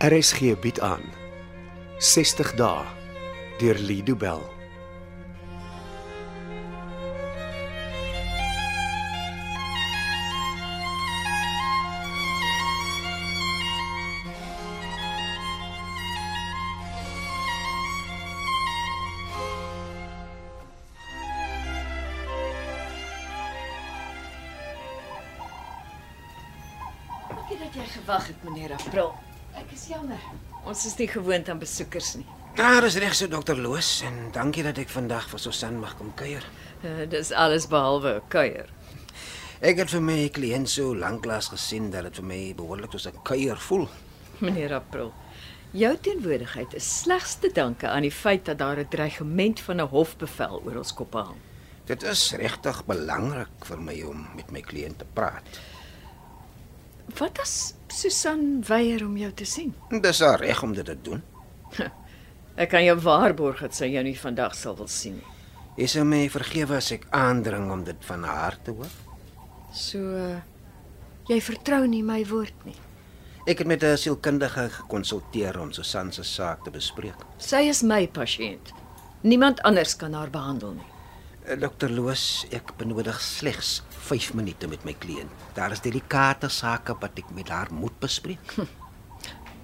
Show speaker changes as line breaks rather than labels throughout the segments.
RSG bied aan 60 dae deur Lido Bell.
Dankie dat jy gewag het, meneer April. Ek is jammer. Ons is nie gewoond aan besoekers nie.
Daar is reg so dokter Loos en dankie dat ek vandag vir Susan mag kom kuier.
Uh, dis alles behalwe 'n kuier.
Ek het vir my kliënt so lanklaas gesien dat dit vir my behoorlik soos 'n kuier voel.
Meneer April, jou teenwoordigheid is slegs te danke aan die feit dat daar 'n dreigement van 'n hofbevel oor ons kop hang.
Dit is regtig belangrik vir my om met my kliënt te praat.
Wat as Susan weier om jou te sien?
Dis haar reg om dit te doen.
Ek kan jou waarborg dat sy jou nie vandag sal wil sien nie.
Jy sal my vergewe as ek aandring om dit van haar te hoor.
So uh, jy vertrou nie my woord nie.
Ek het met 'n sielkundige gekonsulteer om Susan se saak te bespreek.
Sy is my pasiënt. Niemand anders kan haar behandel nie.
Eh, Dokter Loos, ek benodig slegs 5 minute met my kliënt. Daar is delikate sake wat ek met haar moet bespreek.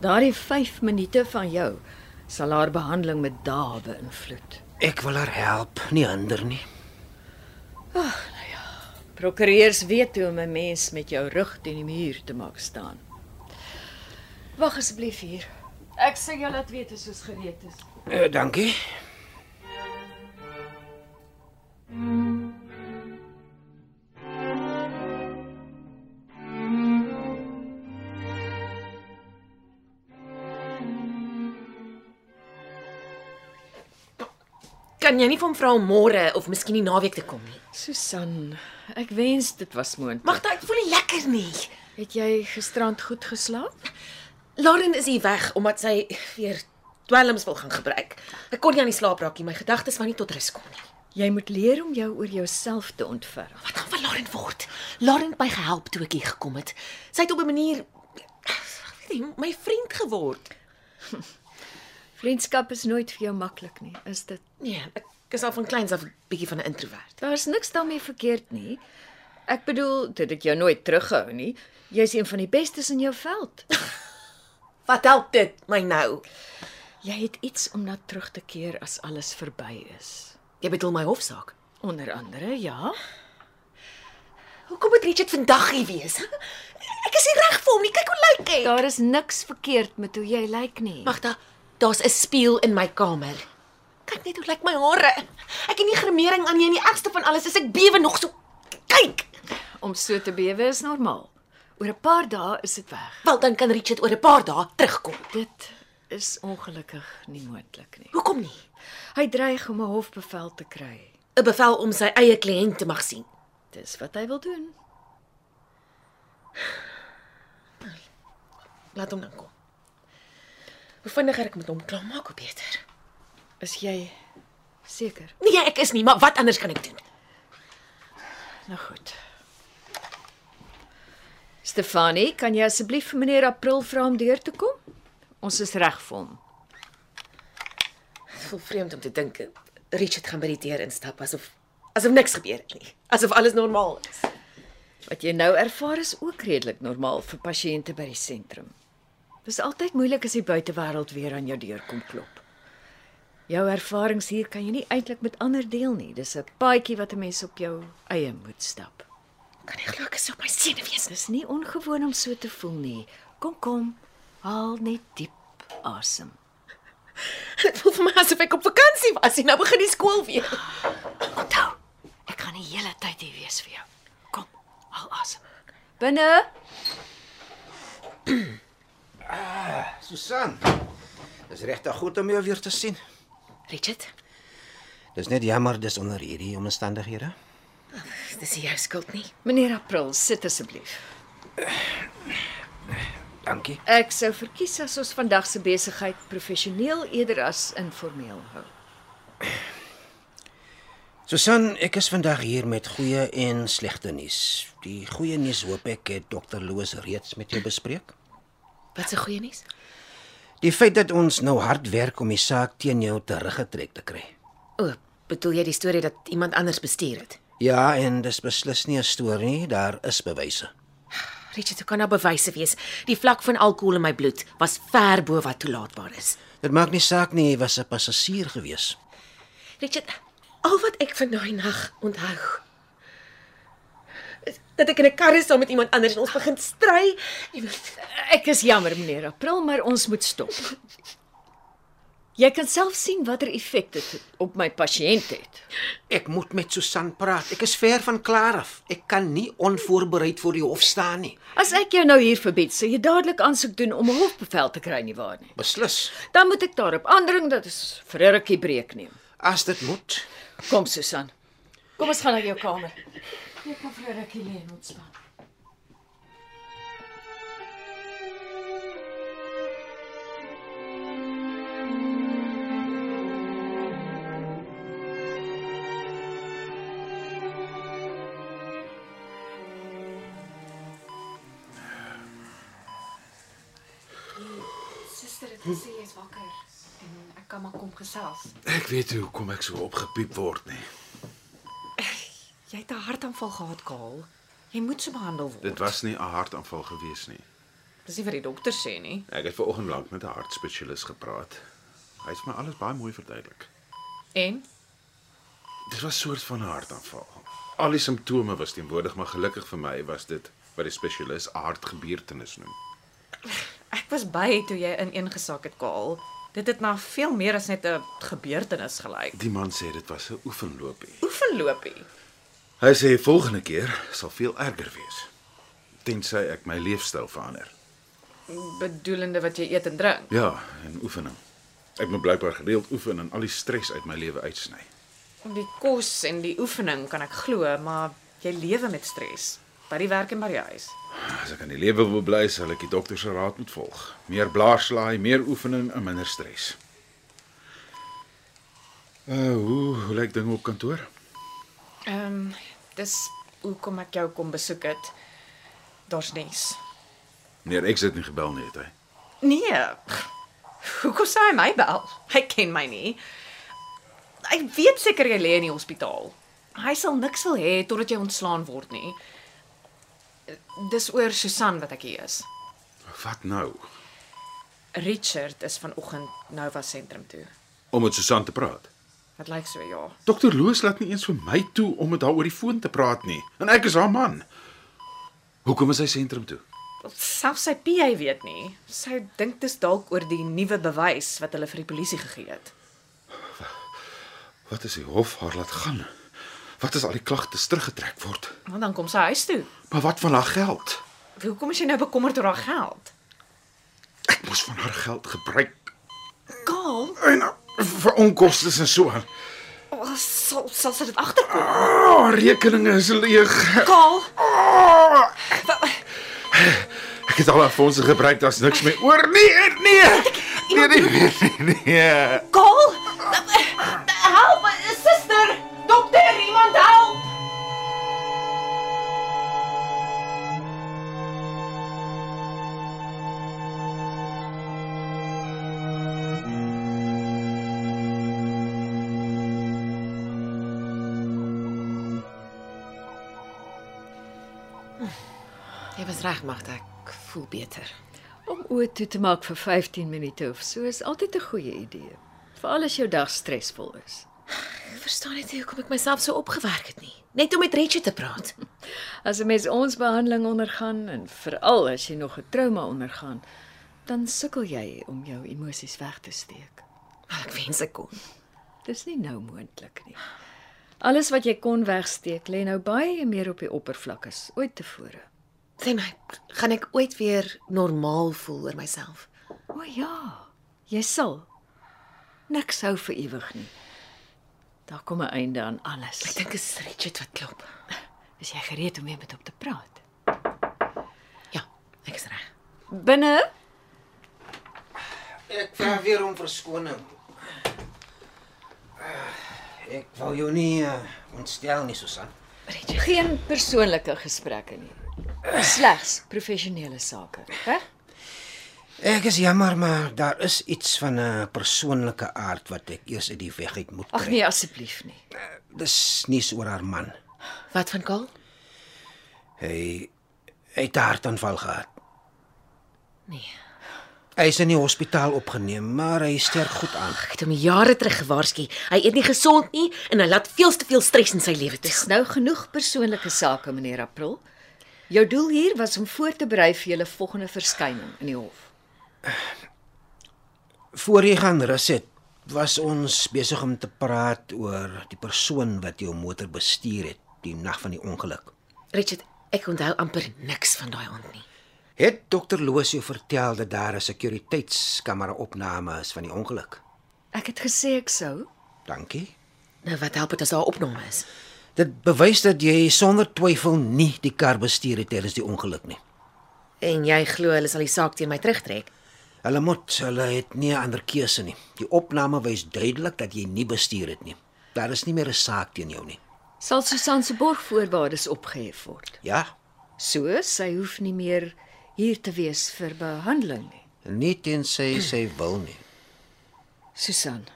Daardie 5 minute van jou sal haar behandeling met dae beïnvloed.
Ek wil haar help, nie hinder nie.
Prokureurs weet hoe om 'n mens met jou rug teen die muur te maak staan. Wag asseblief hier. Ek sê jou laat weet as ons gereed is.
Uh, dankie.
Kan jy nie van vrou môre of miskien die naweek te kom nie?
Susan, ek wens dit was moontlik.
Magda, ek voel nie lekker nie.
het jy gisterand goed geslaap?
Lauren is hier weg omdat sy weer dwelms wil gaan gebruik. Ek kon nie aan die slaap raak nie. My gedagtes wou nie tot rus kom nie.
Jy moet leer om jou oor jouself te ontferm.
Wat gaan van Lauren word? Lauren het my gehelp toe ek hier gekom het. Sy het op 'n manier ek weet nie, my vriend geword.
Vriendskap is nooit vir jou maklik nie, is dit?
Nee, ek is al van kleins af 'n bietjie van 'n introwert.
Daar's niks daarmee verkeerd nie. Ek bedoel, dit het jou nooit teruggehou nie. Jy's een van die bestes in jou veld.
Wat help dit my nou?
Jy het iets om na terug te keer as alles verby is.
Jy bedoel my hofsaak.
Onder andere, ja,
Hoekom moet Richard vandag hier wees? Ek is nie reg vir hom nie. Kyk hoe lyk hy.
daar is niks verkeerd met hoe jy lyk nie.
Magda, daar's 'n spieël in my kamer. Kyk net hoe lyk my hare. Ek het nie gremering aan nie en die ergste van alles is ek bewe nog so. Kyk.
om so te bewe is normaal. Oor 'n paar dae is dit weg.
Wel dan kan Richard oor 'n paar dae terugkom.
Dit is ongelukkig nie moontlik nie.
Hoekom nie?
Hy dreig om 'n hofbevel te kry.
'n Bevel om sy eie kliënt te mag sien.
Dis wat hy wil doen.
Laat hom dan kom. Hoe vinniger ek met hom klaarmaak, hoe beter.
Is jy seker?
Nee, ek is nie, maar wat anders kan ek doen?
Nou goed. Stefanie, kan jy asseblief vir meneer April vra om deur te kom? Ons is reg vir hom.
Dit voel vreemd om te dink Richard gaan by die deur instap asof asof niks gebeur het nie. Asof alles normaal is.
Wat jy nou ervaar is ook redelik normaal vir pasiënte by die sentrum. Dit is altyd moeilik as die buitewêreld weer aan jou deur kom klop. Jou ervarings hier kan jy nie eintlik met ander deel nie. Dis 'n paadjie wat 'n mens op jou eie moet stap.
Kan nie glo ek is so op my senuwees nie.
Dis nie ongewoon om so te voel nie. Kom kom, haal net diep asem.
Dit voel vir my asof ek op vakansie was en nou begin die skool weer.
Onthou, ek gaan die hele tyd hier wees vir jou. Kom, haal asem. Binne.
Susan. Dis regtig goed om jou weer te sien.
Richard,
Dis net jammer dis onder hierdie omstandighede.
dis nie jou skuld nie.
Meneer April, sit asseblief.
Dankie.
Ek sou verkies as ons vandag se besigheid professioneel eerder as informeel hou.
Susan, ek is vandag hier met goeie en slegte nuus. Die goeie nuus hoop ek het dokter Loos reeds met jou bespreek.
Wat 'n goeie nuus.
Die feit dat ons nou hard werk om die saak teen jou teruggetrek te kry.
O, bedoel jy die storie dat iemand anders bestuur het?
Ja, en dis beslis nie 'n storie nie, daar is bewyse.
Richard, hoe kan daar bewyse wees? Die vlak van alkohol in my bloed was ver bo wat toelaatbaar is.
Dit maak nie saak nie, hy was 'n passasier gewees.
Richard, al wat ek van daai nag onthou is dat ek in 'n kar is saam met iemand anders en ons begin stry en
Ek is jammer meneer April, maar ons moet stop. Jy kan self sien watter effek dit op my pasiënt het.
Ek moet met Susan praat. Ek is ver van klaar af. Ek kan nie onvoorbereid voor die hof staan nie.
As ek jou nou hier verbied, sal jy dadelik aansoek doen om 'n hofbevel te kry nie waar nie.
Beslis.
Dan moet ek daarop aandring dat ons vir 'n rukkie breek neem.
As dit moet.
Kom Susan. Kom ons gaan na jou kamer. Jy kan vir 'n rukkie lê en ontspan.
Ek weet hoe kom ek so opgepiep word nie.
jy het 'n hartaanval gehad, Kaal. Jy moet so behandel word.
Dit was nie 'n hartaanval gewees nie.
Dis nie wat die dokter sê nie.
Ek het ver oggend lank met 'n hartspesialis gepraat. Hy het my alles baie mooi verduidelik.
En
Dit was 'n soort van 'n hartaanval. Al die simptome was teenwoordig, maar gelukkig vir my was dit wat die spesialis 'n hartgebeurtenis noem.
Ek was by toe jy ineengesak het, Kaal. Dit het na veel meer as net 'n gebeurtenis gelyk.
Die man sê dit was 'n oefenloopie.
Oefenloopie.
Hy sê volgende keer sal veel erger wees. Tensy ek my leefstyl verander.
Bedoelende wat jy eet en drink.
Ja, en oefening. Ek moet blykbaar gereeld oefen en al die stres uit my lewe uitsny.
Die kos en die oefening kan ek glo, maar jy lewe met stres by die werk en by die huis.
As ek aan die lewe wil bly, sal ek die dokter se raad moet volg. Meer blaarslaai, meer oefening en minder stres. Uh, hoe, hoe lyk dinge op kantoor?
Ehm um, dis hoekom ek jou kom besoek het. Daar's niks.
Meneer X het nie gebel nie, het hy.
Nee. Hoekom sê hy my bel? Hy ken my nie. Ek weet seker jy lê in die hospitaal. Hy sal niks wil hê totdat jy ontslaan word nie. Dis oor Susan wat ek hier is.
Wat nou?
Richard is vanoggend Nova sentrum toe.
Om met Susan te praat.
Dit lyk so ja.
Dokter Loos laat nie eens vir my toe om met haar oor die foon te praat nie. En ek is haar man. Hoekom is hy sentrum toe?
Selfs sy PA weet nie. Sy dink dis dalk oor die nuwe bewys wat hulle vir die polisie gegee het.
Wat as die hof haar laat gaan? Wat as al die klagtes teruggetrek word?
Want dan kom sy huis toe.
Maar wat van haar geld?
Hoekom is jy nou bekommerd oor haar geld?
Ek moes van haar geld gebruik
Kaal,
en uh, vir onkoste en so aan.
Oh, sal sal sy dit agterkom?
Ah, rekeninge is leeg.
Kaal,
Ah, ek het al haar fondse gebruik, daar's niks meer oor nie. en Nee. Nee, nee, nee, nee, nee.
Kaal.
help, suster, dokter, iemand help. Jy was reg, Magda. Ek voel beter.
Om oë toe te maak vir 15 minute of so is altyd 'n goeie idee, veral as jou dag stresvol is.
Ek verstaan net nie hoekom ek myself so opgewerk het nie. Net om met Richard te praat.
As 'n mens ons behandeling ondergaan en veral as jy nog 'n trauma ondergaan, dan sukkel jy om jou emosies weg te steek.
Maar Ah, ek wens ek kon.
Dis nie nou moontlik nie. Alles wat jy kon wegsteek, lê nou baie meer op die oppervlak as ooit tevore.
Sê my, gaan ek ooit weer normaal voel oor myself?
O ja, jy sal. Niks hou vir ewig nie. Daar kom 'n einde aan
Ek
alles.
dink is Richard wat klop.
Is jy gereed om weer met hom te praat?
Ja, ek is reg.
Binne
Ek vra weer om verskoning. Ah, Ek wou jou nie uh, ontstel nie, Susan.
Richard,
Geen persoonlike gesprekke nie. Slegs professionele sake, hè?
Ek is jammer, maar daar is iets van 'n persoonlike aard wat ek eers uit die weg uit moet
Ag
kry.
nee, asseblief nie.
Dis nuus oor haar man.
Wat van Kaal?
Hy hy het 'n hartaanval gehad.
Nee.
Hy is in die hospitaal opgeneem, maar hy sterk goed aan.
Ek het hom jare terug gewaarsku. Hy eet nie gesond nie en hy laat veel te veel stres in sy lewe toe.
Dis nou genoeg persoonlike sake, meneer April. Jou doel hier was om voor te berei vir julle volgende verskyning in die hof.
Voor jy gaan rus het, was ons besig om te praat oor die persoon wat jou motor bestuur het die nag van die ongeluk.
Richard, ek onthou amper niks van daai aand nie.
Het dokter Loos jou vertel dat daar 'n sekuriteitskamera opname is van die ongeluk?
Ek het gesê ek sou.
Dankie.
Nou wat help dit as daar 'n opname is?
Dit bewys dat jy sonder twyfel nie die kar bestuur het tydens die ongeluk nie.
En jy glo hulle sal die saak teen my terugtrek?
Hulle moet, hulle het nie 'n ander keuse nie. Die opname wys duidelik dat jy nie bestuur het nie. Daar is nie meer 'n saak teen jou nie.
Sal Susan se borgvoorwaardes opgehef word.
Ja,
So sy hoef nie meer hier te wees vir behandeling nie.
nie tensy sy wil nie.
Susan.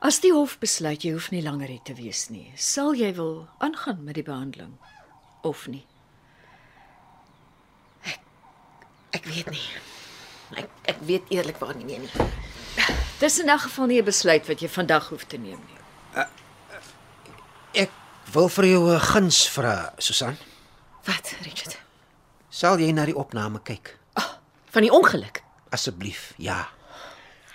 As die hof besluit jy hoef nie langer hier te wees nie, sal jy wil aangaan met die behandeling of nie?
Ek weet nie. Ek ek weet eerlikwaar nie meer nie.
Dis in 'n geval nie 'n besluit wat jy vandag hoef te neem nie.
Ek wil vir jou 'n guns vra, Susan.
Wat, Richard?
Sal jy na die opname kyk?
Van die ongeluk.
Asseblief, ja.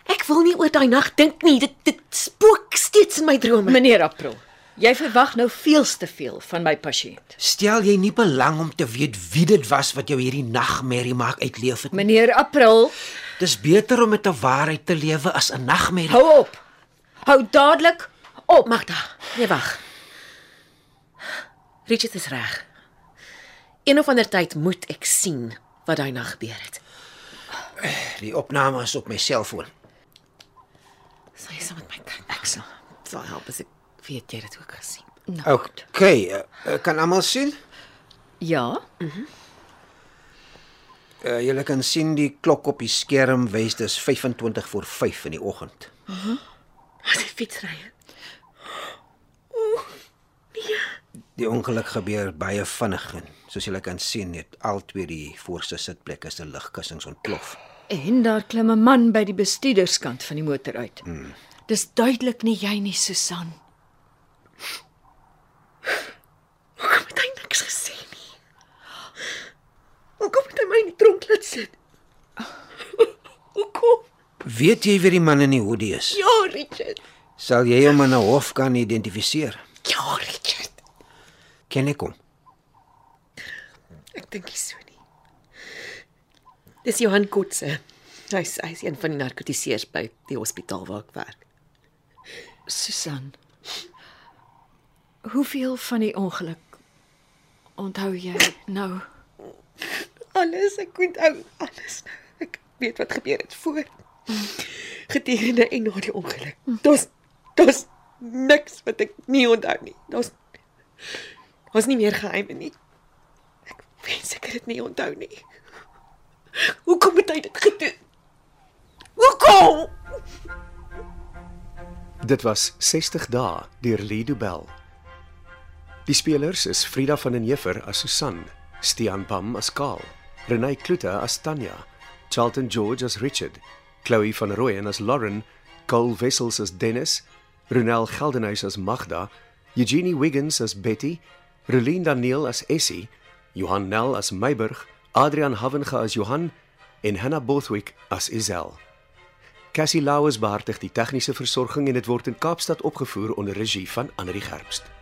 Ek wil nie oor daai nag dink nie. Dit dit spook steeds in my drome.
Meneer April, jy verwag nou veels te veel van my pasiënt.
Stel jy nie belang om te weet wie dit was wat jou hierdie nagmerrie maak uitleef het nie.
Meneer April,
Dis beter om met 'n waarheid te lewe as 'n nagmerrie.
hou op. Hou dadelik op.
Magda, nee wag. Richard is reg. Een of ander tyd moet ek sien wat daai nag gebeur het.
Die opname is op my selfoon.
Sy is saam met my kind. Ek sal sal help as ek weet jy het dit ook gesien.
Okay, eh, eh, kan almal sien?
Ja,
Uh, julle kan sien die klok op die skerm wys dis 25 voor 5 in die oggend.
Wat 'n fietsryer.
Die ongeluk gebeur baie vinnig en soos julle kan sien het al twee die voorste sitplekke se ligkussings ontplof.
en daar klim 'n man by die bestuurderskant van die motor uit. Hmm. Dis duidelik nie jy nie, Susan.
Hoekom het hy niks gesê nie? Hoekom het hy my in die tronk laat sit? Hoekom?
Weet jy wie die man in die hoodie is?
Ja, Richard.
Sal jy hom in 'n hof kan identifiseer?
Ja, Richard.
Ken ek hom?
Ek dink nie so nie. Dis Johan Kotse. Hy's hy's een van die narkotiseers by die hospitaal waar ek werk.
Susan. Hoeveel van die ongeluk onthou jy nou?
Alles, ek onthou alles. nou. Ek weet wat gebeur het voor. Gedurende en na die ongeluk. Daar's daar's niks wat ek nie onthou nie. Daar's daar's nie meer geheime nie. Ek wens ek het dit nie onthou nie. Hoekom het hy dit gedoen? Hoekom?
Dit was 60 dae deur Lido Bell. Die spelers is Frida van den Heever as Susan, Stian Pam as Karl, Renay Klute as Tanya, Charlton George as Richard, Chloe van Rooyen as Lauren, Cole Wessels as Dennis, Ronel Geldenhuys as Magda, Eugenie Wiggins as Betty, Relien Daniel as Essie, Johan Nel as Meiburg, Adrian Havenga as Johan en Hannah Bothwick as Isel. Cassie Lauers behartig die tegniese versorging en dit word in Kaapstad opgevoer onder regie van Anri Gerbst.